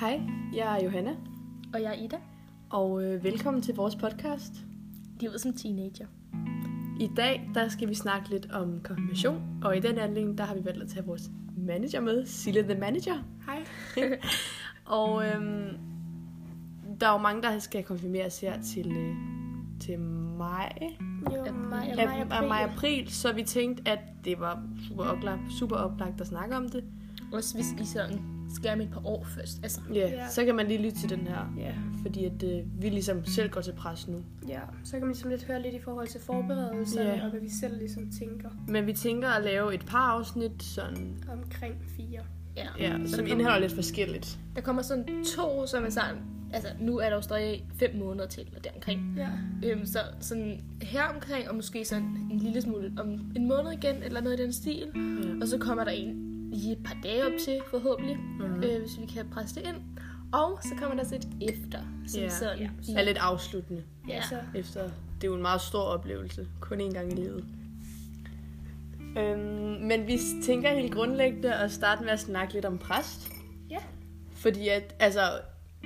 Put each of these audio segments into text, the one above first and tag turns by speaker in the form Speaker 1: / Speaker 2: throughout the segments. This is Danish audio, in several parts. Speaker 1: Hej, jeg er Johanna,
Speaker 2: Og jeg er Ida.
Speaker 1: og øh, velkommen til vores podcast.
Speaker 2: Livet som teenager.
Speaker 1: I dag der skal vi snakke lidt om konfirmation, og i den anledning der har vi valgt at tage vores manager med, Sille the Manager. Hej. og øhm, der er jo mange, der skal konfirmeres her til, øh, til maj,
Speaker 2: Jo, maj,
Speaker 1: af, af maj april, så vi tænkte, at det var super oplagt, super oplagt at snakke om det.
Speaker 2: Også hvis I sådan skal om et par år først. Altså,
Speaker 1: Ja, yeah,
Speaker 3: Ja.
Speaker 1: så kan man lige lytte til den her,
Speaker 3: Ja,
Speaker 1: fordi at øh, vi ligesom selv går til pres nu.
Speaker 3: ja. Så kan man ligesom lidt høre lidt i forhold til forberedelserne,
Speaker 1: Ja.
Speaker 3: og hvad vi selv ligesom tænker
Speaker 1: Men vi tænker at lave et par afsnit, sådan,
Speaker 3: omkring fire.
Speaker 2: ja.
Speaker 1: ja,
Speaker 2: Så
Speaker 1: som
Speaker 2: der
Speaker 1: indeholder lidt forskelligt.
Speaker 2: Der kommer sådan to, som er sådan... Altså, nu er der jo stadig fem måneder til, eller deromkring.
Speaker 3: Ja,
Speaker 2: Øhm, så sådan her omkring, og måske sådan en lille smule om en måned igen, eller noget i den stil.
Speaker 1: Ja.
Speaker 2: Og så kommer der en i et par dage op til, forhåbentlig,
Speaker 1: Mhm.
Speaker 2: øh, hvis vi kan presse det ind. Og så kommer der så et efter, som
Speaker 1: Ja.
Speaker 2: sådan...
Speaker 3: Ja.
Speaker 2: i-
Speaker 1: Er lidt afsluttende
Speaker 2: ja.
Speaker 3: altså,
Speaker 1: efter. Det er jo en meget stor oplevelse, kun én gang i livet. Øhm, men vi tænker helt grundlæggende at starte med at snakke lidt om præst.
Speaker 3: ja.
Speaker 1: Fordi at, altså,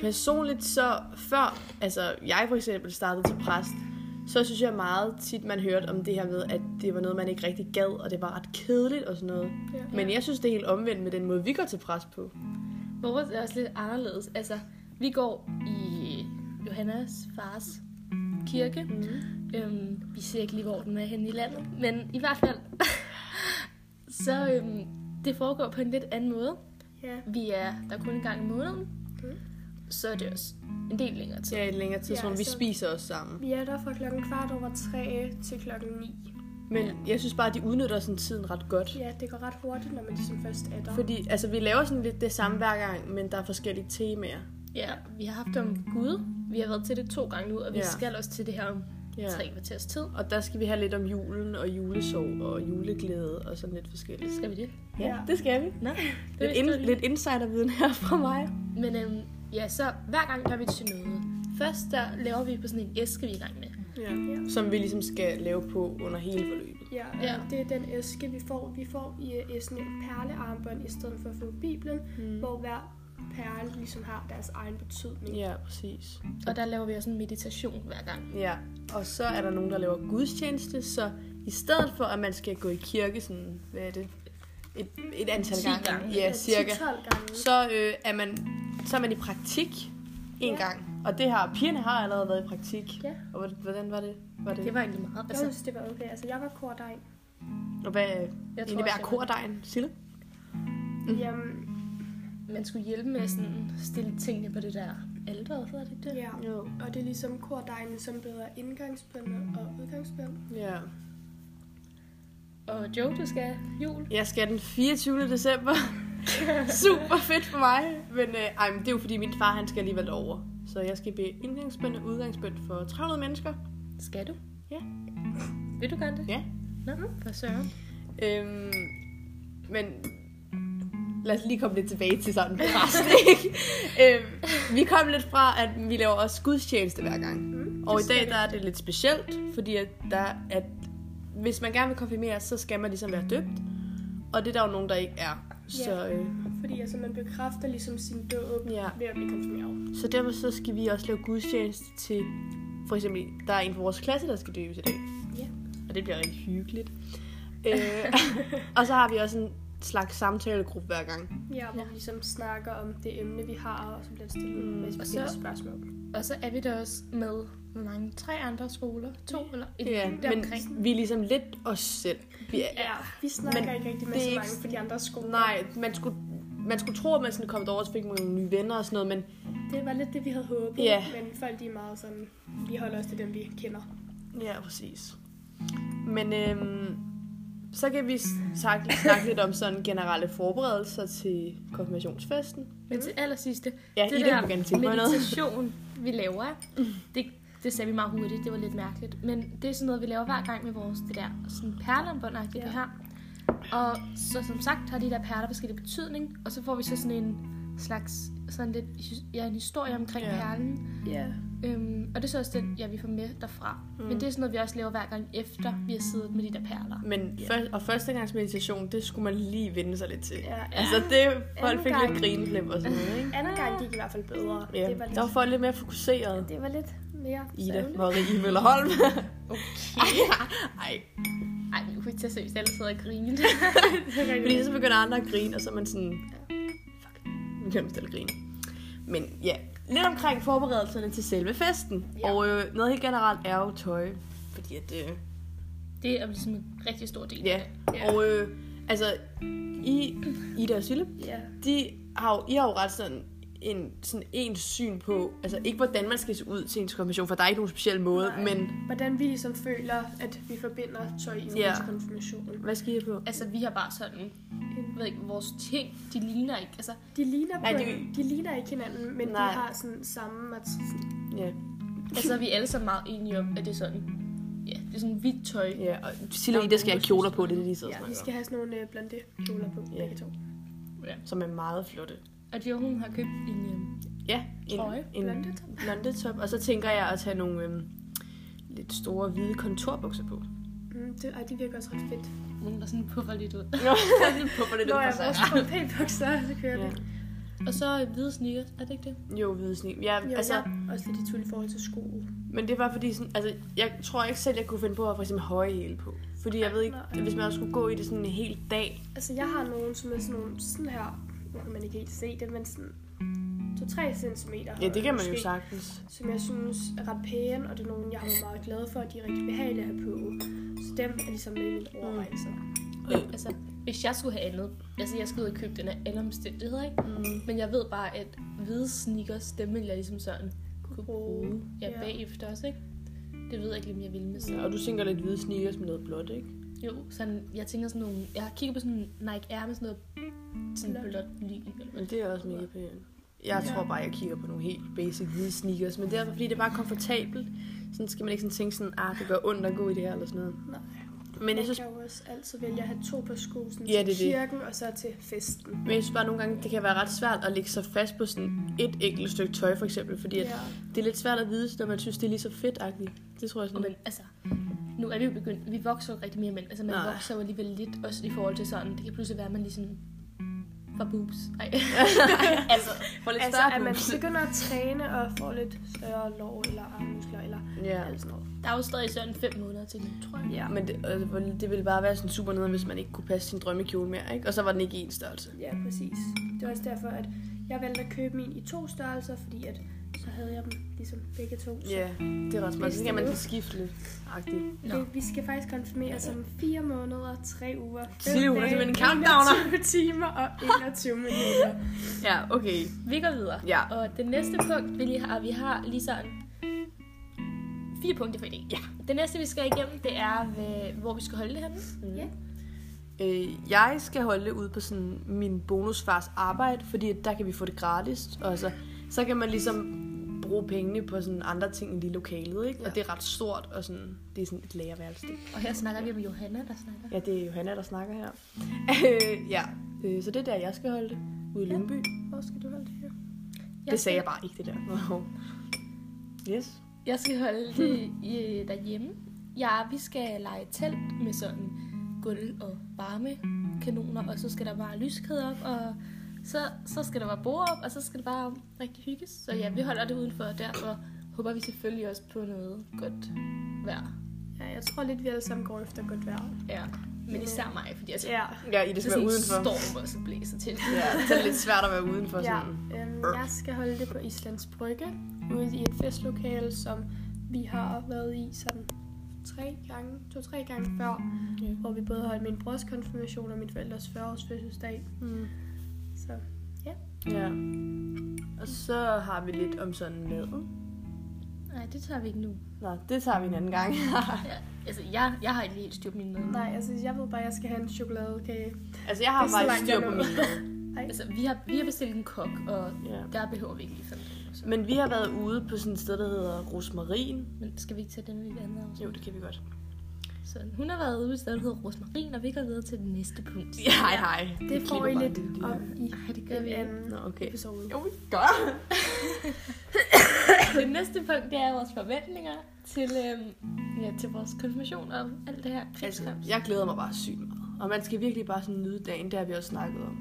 Speaker 1: personligt så, før altså, jeg for eksempel startede til præst, så synes jeg meget tit, man hørte om det her med, at det var noget, man ikke rigtig gad, og det var ret kedeligt og sådan noget.
Speaker 3: ja.
Speaker 1: Men jeg synes, det er helt omvendt med den måde, vi går til præst på.
Speaker 2: Vores er også lidt anderledes. Altså, vi går i Johannas fars kirke. Mm. Øhm, vi ser ikke lige, hvor den er henne i landet, men i hvert fald, så øhm, det foregår på en lidt anden måde.
Speaker 3: ja.
Speaker 2: Vi er der kun en gang i måneden, mm. så er det også en del længere tid.
Speaker 1: Ja, i et længere tidsrum.
Speaker 3: Ja,
Speaker 1: vi
Speaker 3: så-
Speaker 1: spiser os sammen.
Speaker 3: Vi er der fra klokken kvart over tre til klokken ni.
Speaker 1: Men jeg synes bare, at de udnytter sådan tiden ret godt.
Speaker 3: Ja, det går ret hurtigt, når man ligesom først er der.
Speaker 1: Fordi altså, vi laver sådan lidt det samme hver gang, men der er forskellige temaer.
Speaker 2: Ja, vi har haft om Gud. Vi har været til det to gange nu, og vi
Speaker 1: Ja.
Speaker 2: ja. skal også til det her om
Speaker 1: Ja.
Speaker 2: ja. tre kvarters tid.
Speaker 1: Og der skal vi have lidt om julen og julesorg og juleglæde og sådan lidt forskelligt.
Speaker 2: Skal vi det?
Speaker 3: Ja.
Speaker 1: det skal vi.
Speaker 2: Nej.
Speaker 1: Lidt, in, lidt insiderviden her fra mig.
Speaker 2: Men øhm, ja, så hver gang gør vi til noget. Først der laver vi på sådan en æske, vi er i gang med.
Speaker 1: Ja. Som vi ligesom skal lave på under hele forløbet.
Speaker 3: Ja,
Speaker 2: Ja.
Speaker 3: ja, det er den æske, vi får. Vi får i øh, æsken et perlearmbånd i stedet for at få Bibelen, mm. hvor hver perle ligesom har deres egen betydning.
Speaker 1: Ja, præcis.
Speaker 2: Og der laver vi også en meditation hver gang.
Speaker 1: Ja, og så er der nogen, der laver gudstjeneste, så i stedet for, at man skal gå i kirke sådan, hvad er det, et, et antal
Speaker 2: 10
Speaker 1: gange,
Speaker 2: gange.
Speaker 1: ja, cirka,
Speaker 3: 10-12 gange.
Speaker 1: så, øh, er man, så er man i praktik en
Speaker 3: Ja.
Speaker 1: gang. Og det har, pigerne har allerede været i praktik.
Speaker 2: Ja.
Speaker 1: Og hvordan- hvordan var det? Var det,
Speaker 2: Det var egentlig meget.
Speaker 3: Jeg
Speaker 2: Altså,
Speaker 3: synes, det var okay. Altså, jeg var kordegn.
Speaker 1: og hvad
Speaker 2: jeg tror
Speaker 1: indebærer
Speaker 2: også,
Speaker 1: kordejen, Sille? Mhm.
Speaker 3: Mm. Jamen,
Speaker 2: at man skulle hjælpe
Speaker 1: Mm.
Speaker 2: med at sådan stille tingene på det der alder, hedder det ikke det?
Speaker 3: ja.
Speaker 1: Jo.
Speaker 3: Og det er ligesom kordegnen, som bedre indgangsbønne og udgangsbønne.
Speaker 1: Ja.
Speaker 2: Og Joe, du skal jul.
Speaker 1: Jeg skal den 24. december. Super fedt for mig. Men, øh, ej, men det er jo fordi, min far han skal alligevel over. Så jeg skal bede indgangsbøn og udgangsbøn for 300 mennesker.
Speaker 2: Skal du?
Speaker 1: Ja.
Speaker 2: Vil du gerne det?
Speaker 1: Ja.
Speaker 2: Nå, for søren.
Speaker 1: Øhm, men lad os lige komme lidt tilbage til sådan resten, ikke? øhm, vi kom lidt fra, at vi laver også gudstjeneste hver gang. Mm, og i dag, der er det lidt specielt, fordi at, der, at hvis man gerne vil konfirmeres, så skal man ligesom være døbt. Og det er der jo nogen, der ikke er. Så, øh,
Speaker 3: Fordi altså, man bekræfter ligesom sin død
Speaker 1: Ja.
Speaker 3: ja. ved at blive konfirmeret.
Speaker 1: så derfor så skal vi også lave gudstjeneste til, for eksempel, der er en fra vores klasse, der skal døbes i dag.
Speaker 3: Ja.
Speaker 1: Og det bliver rigtig hyggeligt. øh, og så har vi også en slags samtalegruppe hver gang.
Speaker 3: Ja, hvor
Speaker 2: Ja.
Speaker 3: vi ligesom snakker om det emne, vi har, og så bliver der stillet
Speaker 1: Mm,
Speaker 3: mm,
Speaker 2: og
Speaker 3: specifikke
Speaker 2: så-
Speaker 3: spørgsmål.
Speaker 2: Og så er vi der også med hvor mange? Tre andre skoler? To eller et
Speaker 1: Ja,
Speaker 2: deromkring.
Speaker 1: men vi er ligesom lidt os selv. Vi er,
Speaker 3: Ja, vi snakker
Speaker 1: Men
Speaker 3: ikke rigtig
Speaker 1: det
Speaker 3: med
Speaker 1: er
Speaker 3: så
Speaker 1: ikke
Speaker 3: mange for de andre skoler.
Speaker 1: nej, man skulle, man skulle tro, at man sådan kom derover, og så fik man nogle nye venner og sådan noget, men
Speaker 3: Det var lidt det, vi havde håbet,
Speaker 1: Ja.
Speaker 3: men folk de er meget sådan, vi holder os til dem, vi kender.
Speaker 1: ja, præcis. Men øhm, så kan vi s- snakke, snakke lidt om sådan generelle forberedelser til konfirmationsfesten.
Speaker 2: Men til allersidste,
Speaker 1: Ja,
Speaker 2: det
Speaker 1: Ida
Speaker 2: der
Speaker 1: vil gerne tænke mig noget.
Speaker 2: meditation, vi laver, det, det sagde vi meget hurtigt, det var lidt mærkeligt. Men det er sådan noget, vi laver hver gang med vores det der sådan perlearmbånd ja.
Speaker 3: Ja.
Speaker 2: det her. Og så som sagt har de der perler forskellige betydning, og så får vi så sådan en slags sådan lidt, his- ja, en historie omkring
Speaker 1: Ja.
Speaker 2: ja. perlen.
Speaker 3: Ja.
Speaker 2: Øhm, og det er så også den, jeg vil få med derfra. Mm. Men det er sådan noget, vi også laver hver gang efter, vi har siddet med de der perler.
Speaker 1: Men
Speaker 2: Ja.
Speaker 1: først, og førstegangs meditation, det skulle man lige vende sig lidt til.
Speaker 3: Ja,
Speaker 1: Altså det, folk
Speaker 3: Anden
Speaker 1: fik
Speaker 3: gang.
Speaker 1: lidt grineklip og sådan noget, ikke?
Speaker 3: Anden gang gik i hvert fald bedre.
Speaker 1: Ja,
Speaker 3: Det var lidt,
Speaker 1: der var folk lidt mere fokuseret.
Speaker 3: det var lidt mere
Speaker 1: Ida,
Speaker 3: sørgeligt.
Speaker 1: Marie Møllerholm.
Speaker 2: Okay.
Speaker 1: Ej,
Speaker 2: Ej, men kunne ikke tage seriøst, alle sidder og griner.
Speaker 1: Fordi så begynder andre at grine, og så er man sådan, fuck, nu kan man stille grine. Men ja, lidt omkring forberedelserne til selve festen.
Speaker 3: Ja.
Speaker 1: Ja. Og øh, noget helt generelt er jo tøj. Fordi at, øh,
Speaker 2: det er jo ligesom en rigtig stor del.
Speaker 1: ja.
Speaker 3: Ja.
Speaker 1: Og øh, altså, I, Ida og Sille,
Speaker 3: Ja.
Speaker 1: de har jo, I har jo ret sådan en sådan ens syn på, altså ikke hvordan man skal se ud til ens konfirmation, for der er ikke nogen speciel måde,
Speaker 3: Nej.
Speaker 1: Nej. men
Speaker 3: Hvordan vi ligesom føler, at vi forbinder tøj i
Speaker 1: Ja.
Speaker 3: vores konfirmation.
Speaker 1: hvad skal I have på?
Speaker 2: Altså, vi har bare sådan, jeg ved ikke, vores ting, de ligner ikke. Altså,
Speaker 3: De ligner,
Speaker 1: Nej,
Speaker 3: på,
Speaker 1: det-
Speaker 3: de ligner ikke hinanden, men
Speaker 1: Nej.
Speaker 3: de har sådan samme... mat-
Speaker 1: Ja,
Speaker 2: altså vi er alle sammen meget enige om, at det er sådan, ja, det er sådan hvidt tøj.
Speaker 1: ja og Sille og Ida skal have kjoler på, det er det, de sidder og
Speaker 3: Ja, vi
Speaker 1: snakker
Speaker 3: skal have sådan nogle øh, blonde kjoler på,
Speaker 1: Ja.
Speaker 3: begge to.
Speaker 1: om, som er meget flotte.
Speaker 2: Og jo, hun har købt en, øh,
Speaker 1: Ja, en,
Speaker 2: Trøje.
Speaker 1: en
Speaker 3: Blondetop.
Speaker 1: blondetop. Og så tænker jeg at tage nogle øhm, lidt store hvide kontorbukser på.
Speaker 3: Mm, det, ej, de virker også ret fedt.
Speaker 2: hun der sådan puffer lidt ud.
Speaker 1: Nå, puffer det
Speaker 3: Nå, jeg
Speaker 1: ud
Speaker 3: har
Speaker 1: fra
Speaker 3: også
Speaker 1: sig.
Speaker 3: fået pænt bukser, så kører vi.
Speaker 1: Ja.
Speaker 2: Og så øh, hvide sneakers, er det ikke det?
Speaker 1: Jo, hvide sne. Ja,
Speaker 3: Jo,
Speaker 1: altså,
Speaker 3: altså, også lidt i tvivl i forhold til sko.
Speaker 1: Men det var fordi, sådan, altså, jeg tror ikke selv, jeg kunne finde på at have for eksempel høje hæle på. Fordi jeg ved ikke,
Speaker 3: Nej.
Speaker 1: hvis man også skulle gå i det sådan en hel dag.
Speaker 3: Altså, jeg har nogen, som er sådan nogle sådan her... Nu kan man ikke helt se det, men sådan 2-3 cm.
Speaker 1: Ja, det kan man jo sagtens.
Speaker 3: Som jeg synes er ret pæne, og det er nogle, jeg har været meget glad for, og de er rigtig behagelige at have på. Så dem er ligesom med i
Speaker 1: Mm.
Speaker 3: mine overvejelser.
Speaker 1: Øh.
Speaker 2: Altså, hvis jeg skulle have andet, altså jeg skulle ud og købe den af alle omstændigheder, ikke? Mm. Men jeg ved bare, at hvide sneakers, dem ville jeg ligesom sådan kunne bruge ja,
Speaker 3: Ja.
Speaker 2: bagefter også, ikke? Det ved jeg ikke, lige, om jeg vil med sådan.
Speaker 1: Ja, og du tænker lidt hvide sneakers med noget blåt, ikke?
Speaker 2: Jo, sådan, jeg tænker sådan nogle, jeg har kigget på sådan en Nike Air med sådan noget sådan
Speaker 3: Blåt.
Speaker 2: blåt lyn. eller hvad.
Speaker 1: Men det er også mega pænt. Jeg
Speaker 3: Ja.
Speaker 1: tror bare, jeg kigger på nogle helt basic hvide sneakers. Men det er fordi, det er bare komfortabelt. Sådan skal man ikke sådan tænke sådan, ah, det gør ondt at gå i det her eller sådan noget.
Speaker 3: Nej.
Speaker 1: Men jeg synes
Speaker 3: kan jo også altid vælge at have to på sko sådan
Speaker 1: Ja,
Speaker 3: til
Speaker 1: det er det.
Speaker 3: kirken, og så til festen.
Speaker 1: Men jeg synes bare nogle gange, det kan være ret svært at lægge sig fast på sådan et enkelt stykke tøj, for eksempel. Fordi at
Speaker 3: Ja.
Speaker 1: det er lidt svært at vide, når man synes, det er lige så fedt -agtigt. Det tror jeg sådan.
Speaker 2: Men altså, nu er vi jo begyndt, vi vokser jo ikke rigtig mere, men altså, man
Speaker 1: Nej.
Speaker 2: Nej. vokser jo alligevel lidt, også i forhold til sådan, det kan pludselig være, at man ligesom får boobs. Ej. altså,
Speaker 1: for lidt
Speaker 3: Altså, at man begynder at træne og får lidt større lår eller armmuskler eller
Speaker 1: Ja.
Speaker 3: alt sådan noget.
Speaker 2: der er jo stadig sådan fem måneder til, tror jeg.
Speaker 3: altså, Ja.
Speaker 1: Men det, altså, hvor- det ville bare være sådan super nederen, hvis man ikke kunne passe sin drømmekjole mere, ikke? Og så var den ikke i en størrelse.
Speaker 3: Ja, præcis. Det var også derfor, at jeg valgte at købe min i to størrelser, fordi at så havde jeg dem ligesom begge to. Så
Speaker 1: Ja, det er ret smart. Så kan man
Speaker 3: Bedste
Speaker 1: lige skifte lidt. Agtigt.
Speaker 2: Nå.
Speaker 3: det, vi skal faktisk konfirmeres om 4 måneder, 3 uger, 5
Speaker 1: Sige, hun er simpelthen en countdowner.
Speaker 3: 20 timer og 21 minutter.
Speaker 1: Ja, okay.
Speaker 2: Vi går videre.
Speaker 1: Ja.
Speaker 2: Og det næste punkt, vi lige har, vi har lige sådan fire punkter for i dag.
Speaker 1: Ja.
Speaker 2: Det næste, vi skal igennem, det er, hvad- hvor vi skal holde det henne.
Speaker 3: Ja.
Speaker 1: Mm. Øh, jeg skal holde det ud på sådan min bonusfars arbejde, fordi at der kan vi få det gratis. Og altså, så kan man ligesom bruge pengene på sådan andre ting end lige lokalet, ikke? Ja. Og det er ret stort, og sådan, det er sådan et lagerværelse.
Speaker 2: Og her snakker vi om Johanna, der snakker.
Speaker 1: Ja, det er Johanna, der snakker her. Øh, ja, øh, så det er der, jeg skal holde det. Ude i Lyngby.
Speaker 3: Hvor skal du holde det her?
Speaker 1: Det sagde jeg bare ikke, det der. Wow. Yes.
Speaker 2: Jeg skal holde det øh, derhjemme. Ja, vi skal lege telt med sådan gulv og varme kanoner, og så skal der bare lyskæder op, og så, så skal der bare bord op, og så skal det bare rigtig hygges. Så ja, vi holder det udenfor, og derfor håber vi selvfølgelig også på noget godt vejr.
Speaker 3: Ja, jeg tror lidt, vi alle sammen går efter godt vejr.
Speaker 2: Ja, men især mig, fordi altså,
Speaker 3: Ja.
Speaker 1: Ja, I det
Speaker 2: det er
Speaker 1: skal være
Speaker 2: sådan en
Speaker 1: udenfor.
Speaker 2: storm, og så blæser til.
Speaker 1: Ja, det er lidt svært at være udenfor
Speaker 3: Ja,
Speaker 1: sådan.
Speaker 3: øhm, jeg skal holde det på Islands Brygge, ude i et festlokale, som vi har været i sådan tre gange, to-tre gange før,
Speaker 1: Ja.
Speaker 3: hvor vi både holdt min brors konfirmation og min forældres 40-års fødselsdag.
Speaker 1: Mm.
Speaker 3: Så
Speaker 1: Ja. Og så har vi lidt om sådan maden.
Speaker 2: Nej, det tager vi ikke nu.
Speaker 1: Nå, det tager vi en anden gang.
Speaker 2: Ja, altså, jeg, jeg har ikke lige helt styr på min mad.
Speaker 3: nej, altså jeg ved bare, at jeg skal have en chokoladekage.
Speaker 1: altså, jeg har
Speaker 3: Det er så
Speaker 1: faktisk
Speaker 3: langt,
Speaker 1: styr
Speaker 3: jeg
Speaker 1: på
Speaker 3: nåede.
Speaker 1: min mad.
Speaker 2: Altså, vi har, vi har bestilt en kok, og
Speaker 1: Ja.
Speaker 2: der behøver vi ikke lige sådan noget. så.
Speaker 1: Men vi har været ude på sådan et sted, der hedder Rosmarin.
Speaker 2: Men skal vi ikke tage den i et andet afsnit?
Speaker 1: Jo, det kan vi godt.
Speaker 2: Så hun har været ude i stedet, der hedder Rosmarin, og vi går videre til det næste punkt.
Speaker 1: Ja, hej, hej.
Speaker 3: Det får I
Speaker 1: klipper bare
Speaker 3: lidt
Speaker 1: det, det
Speaker 3: op
Speaker 1: her.
Speaker 3: i
Speaker 2: Nej, det gør vi
Speaker 3: den
Speaker 2: ikke.
Speaker 3: anden
Speaker 1: Nå, okay.
Speaker 3: episode.
Speaker 1: Jo, vi gør.
Speaker 2: Øhm, det næste punkt, det er vores forventninger til, øhm, ja, til vores konfirmation og alt det her
Speaker 1: Altså,
Speaker 2: krigskamp.
Speaker 1: jeg glæder mig bare sygt meget. Og man skal virkelig bare sådan nyde dagen, det har vi også snakket om.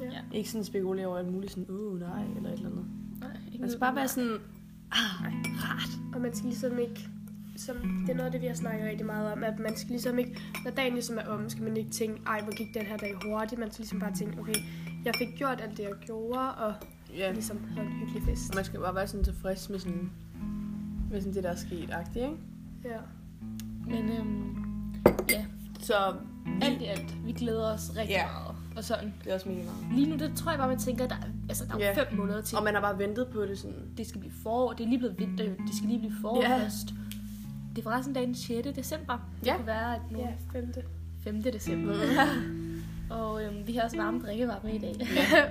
Speaker 3: Ja. Mm.
Speaker 2: Ja.
Speaker 1: Ikke sådan spekulere over alt muligt, sådan, uh, nej, eller et eller andet.
Speaker 2: Nej, ikke
Speaker 1: Man skal
Speaker 2: noget.
Speaker 1: bare være sådan,
Speaker 3: Og man skal ligesom ikke, som, det er noget af det, vi har snakket rigtig meget om, at man skal ligesom ikke, når dagen ligesom er om, skal man ikke tænke, ej, hvor gik den her dag hurtigt. Man skal ligesom bare tænke, okay, jeg fik gjort alt det, jeg gjorde, og
Speaker 1: ja,
Speaker 3: ligesom havde en hyggelig fest.
Speaker 1: og man skal bare være sådan tilfreds med sådan, med sådan det, der er sket, agtigt, ikke?
Speaker 3: Ja.
Speaker 2: Men øhm,
Speaker 1: Så
Speaker 2: alt i alt, vi glæder os rigtig
Speaker 1: Ja.
Speaker 2: meget. Og sådan.
Speaker 1: det er også mega meget.
Speaker 2: Lige nu, der tror jeg bare, man tænker, at der, er- altså, der er
Speaker 1: Ja.
Speaker 2: yeah. fem måneder til.
Speaker 1: Og man har bare ventet på det sådan,
Speaker 2: det skal blive forår. Det er lige blevet vinter. jo. Det skal lige blive forår
Speaker 1: Ja.
Speaker 2: yeah. først. Det er forresten dagen 6. december.
Speaker 1: Ja.
Speaker 2: Det kunne være, at nu
Speaker 3: Ja, femte.
Speaker 2: 5. december.
Speaker 3: Mm.
Speaker 2: Og øhm, vi har også varme drikkevarer med i dag.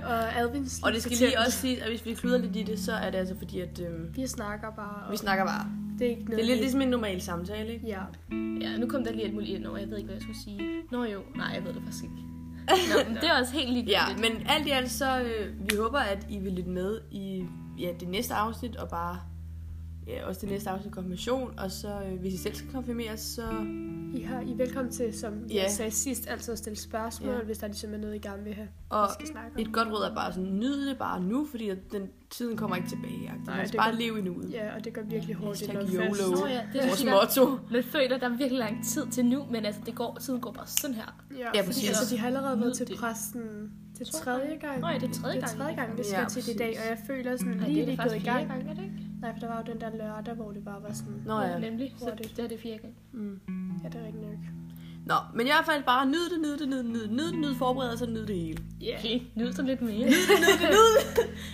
Speaker 3: og Alvins
Speaker 1: Og det skal lige også sige, at hvis vi kluder lidt i det, så er det altså fordi, at øh,
Speaker 3: Vi snakker bare, og
Speaker 1: vi snakker bare.
Speaker 3: det er ikke
Speaker 1: Det
Speaker 3: noget.
Speaker 1: er lidt ligesom en normal samtale, ikke?
Speaker 3: Ja.
Speaker 2: Ja, nu kom der lige alt muligt ind over. Jeg ved ikke, hvad jeg skulle sige. Nå jo, nej, jeg ved det faktisk ikke. Nå, men det er også helt
Speaker 1: Ja,
Speaker 2: ligegyldigt.
Speaker 1: men alt i alt så, øh, vi håber, at I vil lytte med i ja, det næste afsnit, og bare ja, også det næste afsnit konfirmation, og så øh, hvis I selv skal konfirmeres, så
Speaker 3: I, har, I er velkommen til, som
Speaker 1: Ja.
Speaker 3: jeg sagde sidst, altid at stille spørgsmål,
Speaker 1: Ja.
Speaker 3: hvis der ligesom er noget, I gerne vil have,
Speaker 1: og
Speaker 3: vi skal snakke om.
Speaker 1: et godt råd er bare sådan, nyd det bare nu, fordi at den tiden kommer ikke tilbage. agtigt.
Speaker 3: Nej,
Speaker 1: Man skal
Speaker 3: det
Speaker 1: bare
Speaker 3: gør-
Speaker 1: leve i nuet.
Speaker 3: Ja, og det går virkelig hurtigt.
Speaker 1: Hashtag
Speaker 3: når
Speaker 1: YOLO.
Speaker 3: først-
Speaker 2: Nå ja, det er
Speaker 1: Vores
Speaker 2: sikkert.
Speaker 1: motto.
Speaker 2: Man føler, der er virkelig lang tid til nu, men altså, det går, tiden går bare sådan her.
Speaker 3: Ja,
Speaker 1: Ja,
Speaker 3: ja
Speaker 1: præcis.
Speaker 3: fordi altså, de har allerede været til
Speaker 2: Det-
Speaker 3: præsten til
Speaker 2: To
Speaker 3: tredje gang.
Speaker 2: Nå ja, det er tredje
Speaker 3: Det er
Speaker 2: gang.
Speaker 3: tredje gang, vi
Speaker 1: Ja,
Speaker 3: skal til det i dag,
Speaker 1: præcis.
Speaker 3: og jeg føler sådan
Speaker 2: Nej,
Speaker 3: lige,
Speaker 2: det
Speaker 3: vi
Speaker 2: er
Speaker 3: er
Speaker 2: faktisk
Speaker 3: gået i gang.
Speaker 2: fire gang, er det ikke?
Speaker 3: Nej, for der var jo den der lørdag, hvor det bare var sådan,
Speaker 1: Nå ja.
Speaker 2: Nemlig, så
Speaker 3: Hurtigt.
Speaker 2: det er det fjerde gang.
Speaker 1: Mm.
Speaker 3: ja, det er rigtig nok.
Speaker 1: Nå, men i hvert fald bare nyd det, nyd det, nyd det, nyd det, nyd det, nyd forberedelser, nyd det hele.
Speaker 3: Yeah.
Speaker 2: Okay, nyd så lidt mere.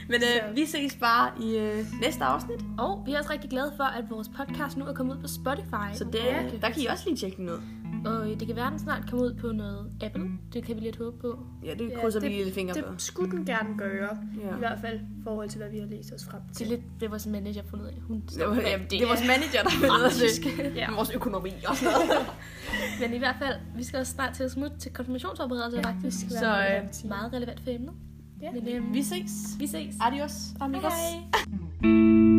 Speaker 1: Men øh, vi ses bare i øh, næste afsnit.
Speaker 2: Og vi er også rigtig glade for, at vores podcast nu er kommet ud på Spotify.
Speaker 1: Så det,
Speaker 2: Ja.
Speaker 1: der kan I også lige tjekke den ud.
Speaker 2: Og øh, det kan være, den snart kommer ud på noget Apple.
Speaker 1: Mm.
Speaker 2: Det kan vi lidt håbe på.
Speaker 1: Ja, det
Speaker 3: Ja,
Speaker 1: krydser vi
Speaker 3: det-
Speaker 1: lige lidt fingre på.
Speaker 3: Det skulle den gerne gøre,
Speaker 1: Ja.
Speaker 3: i hvert fald i forhold til, hvad vi har læst os frem
Speaker 2: Det er
Speaker 3: til.
Speaker 2: lidt det, vores manager har fundet ud af. Hun
Speaker 1: Det var, ja, det er vores manager, der ved det. Ja. Vores økonomi og sådan noget.
Speaker 2: Men i hvert fald, vi skal også snart til at smutte til konfirmationsforberedelser, ja, faktisk.
Speaker 3: skal
Speaker 1: Så,
Speaker 3: være
Speaker 1: øh,
Speaker 3: relevant til-
Speaker 2: Meget relevant for emnet.
Speaker 3: Ja.
Speaker 2: Men øhm,
Speaker 1: Vi ses.
Speaker 2: vi ses.
Speaker 1: Adios, amigos.
Speaker 2: Hej, hej.